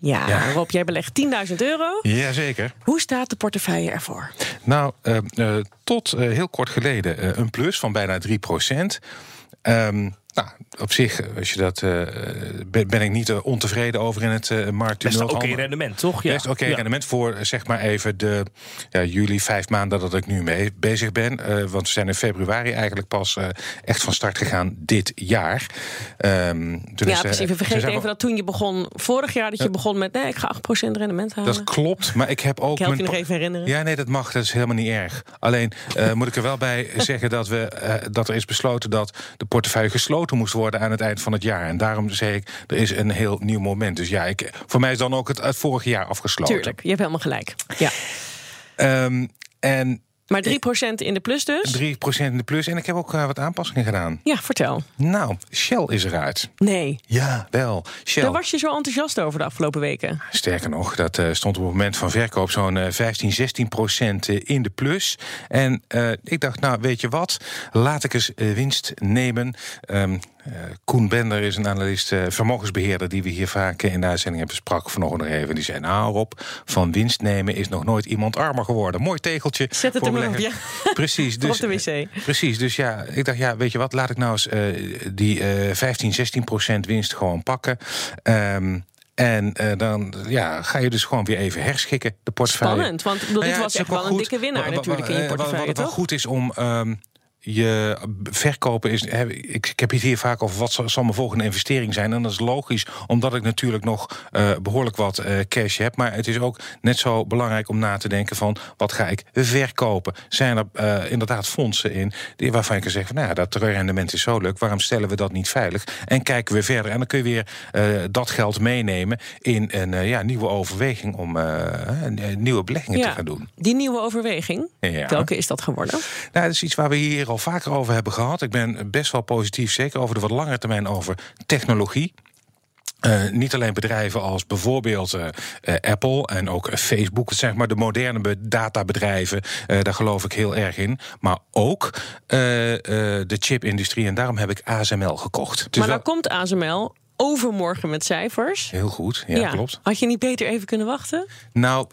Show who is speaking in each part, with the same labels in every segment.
Speaker 1: Ja,
Speaker 2: Ja.
Speaker 1: Rob, jij belegt 10.000 euro.
Speaker 2: Jazeker.
Speaker 1: Hoe staat de portefeuille ervoor?
Speaker 2: Nou, eh, eh, tot eh, heel kort geleden eh, een plus van bijna 3 procent. nou, op zich, eh, als je dat, eh, ben, ben ik niet eh, ontevreden over in het eh markt.
Speaker 3: Best een oké rendement, toch?
Speaker 2: Best oké
Speaker 3: Ja.
Speaker 2: rendement voor eh, zeg maar even de ja, juli, vijf maanden dat ik nu mee bezig ben. Eh, want we zijn in februari eigenlijk pas eh, echt van start gegaan dit jaar. Ehm, toen is,
Speaker 1: ja, precies.
Speaker 2: eh, toen
Speaker 1: We
Speaker 2: zijn
Speaker 1: vergeten even dat toen je begon, vorig jaar, dat je begon met: nee, ik ga 8% rendement halen.
Speaker 2: Dat klopt, maar ik heb ook.
Speaker 1: Ik help je
Speaker 2: mijn
Speaker 1: nog
Speaker 2: pa-
Speaker 1: even herinneren.
Speaker 2: Ja, nee, dat mag. Dat is helemaal niet erg. Alleen eh, moet ik er wel bij zeggen dat, we, eh, dat er is besloten dat de portefeuille gesloten moest worden aan het eind van het jaar. En daarom zeg ik, er is een heel nieuw moment. Dus ja, ik, voor mij is dan ook het, het vorige jaar afgesloten.
Speaker 1: Tuurlijk, je hebt helemaal gelijk. Ja.
Speaker 2: Ehm, en
Speaker 1: Maar 3% in de plus dus?
Speaker 2: 3% in de plus. En ik heb ook eh, wat aanpassingen gedaan.
Speaker 1: Ja, vertel.
Speaker 2: Nou, Shell is eruit.
Speaker 1: Nee.
Speaker 2: Ja, wel. Shell.
Speaker 1: Daar was je zo enthousiast over de afgelopen weken.
Speaker 2: Sterker nog, dat eh, stond op het moment van verkoop zo'n eh, 15, 16 procent eh, in de plus. En eh, ik dacht, nou weet je wat, laat ik eens eh, winst nemen. Ehm, eh, Koen Bender is een analist, eh, vermogensbeheerder, die we hier vaak eh, in de uitzending hebben sprak vanochtend nog even. Die zei, nou Rob, van winst nemen is nog nooit iemand armer geworden. Mooi tegeltje.
Speaker 1: Zet het
Speaker 2: voor
Speaker 1: er maar op,
Speaker 2: belegger. Precies. Dus,
Speaker 1: Op de wc.
Speaker 2: Precies, dus ja, ik dacht, ja, weet je wat, laat ik nou eens eh, die eh 15, 16 procent winst gewoon pakken. Ehm, en eh, dan ja, ga je dus gewoon weer even herschikken, de portefeuille.
Speaker 1: Spannend, want ik bedoel, dit
Speaker 2: Nou het
Speaker 1: was
Speaker 2: is
Speaker 1: echt
Speaker 2: ook
Speaker 1: wel een dikke winnaar
Speaker 2: Wa- wa- wa-
Speaker 1: natuurlijk in je
Speaker 2: eh, wa-
Speaker 1: portefeuille,
Speaker 2: Wat, wel
Speaker 1: toch?
Speaker 2: goed is om... ehm, je verkopen is. hè, Ik, ik heb het hier vaak over wat zal, zal mijn volgende investering zijn. En dat is logisch, omdat ik natuurlijk nog eh, behoorlijk wat eh, cash heb. Maar het is ook net zo belangrijk om na te denken van wat ga ik verkopen? Zijn er eh, inderdaad fondsen in die, waarvan je kan zeggen van nou ja, dat rendement is zo leuk. Waarom stellen we dat niet veilig? En kijken we verder. En dan kun je weer eh, dat geld meenemen in een eh, ja, nieuwe overweging om eh, een- een nieuwe beleggingen te gaan doen.
Speaker 1: Die nieuwe overweging,
Speaker 2: Ja.
Speaker 1: welke is dat geworden?
Speaker 2: Nou, dat is iets waar we hier al vaker over hebben gehad. Ik ben best wel positief, zeker over de wat langere termijn, over technologie. Eh, niet alleen bedrijven als bijvoorbeeld eh, eh, Apple en ook eh, Facebook, zeg maar de moderne be- databedrijven, eh, daar geloof ik heel erg in. Maar ook eh, eh, de chipindustrie en daarom heb ik ASML gekocht. Dus
Speaker 1: maar nou komt ASML overmorgen met cijfers.
Speaker 2: Heel goed, ja, klopt.
Speaker 1: Had je niet beter even kunnen wachten?
Speaker 2: Nou,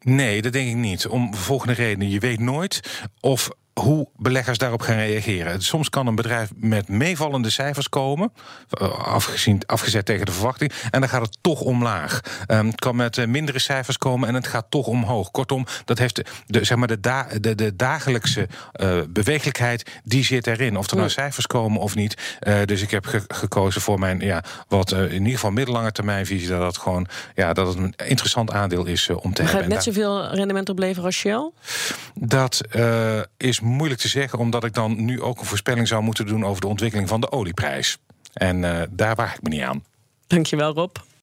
Speaker 2: nee, dat denk ik niet. Om volgende redenen. Je weet nooit of hoe beleggers daarop gaan reageren. Soms kan een bedrijf met meevallende cijfers komen, eh, afgezien, afgezet tegen de verwachting, en dan gaat het toch omlaag. Ehm, Het kan met eh, mindere cijfers komen en het gaat toch omhoog. Kortom, dat heeft de- de, zeg maar de, da- de, de dagelijkse eh, bewegelijkheid, die zit erin. Of er nou cijfers komen of niet. Eh, dus ik heb ge- gekozen voor mijn, ja, wat eh, in ieder geval middellange termijn visie, dat, dat, gewoon, ja, dat het een interessant aandeel is eh, om te
Speaker 1: Gaat
Speaker 2: hebben.
Speaker 1: het
Speaker 2: En
Speaker 1: net zoveel rendement opleveren als Shell?
Speaker 2: dat eh, is moeilijk te zeggen, omdat ik dan nu ook een voorspelling zou moeten doen over de ontwikkeling van de olieprijs. En eh, daar waag ik me niet aan.
Speaker 1: Dankjewel, Rob.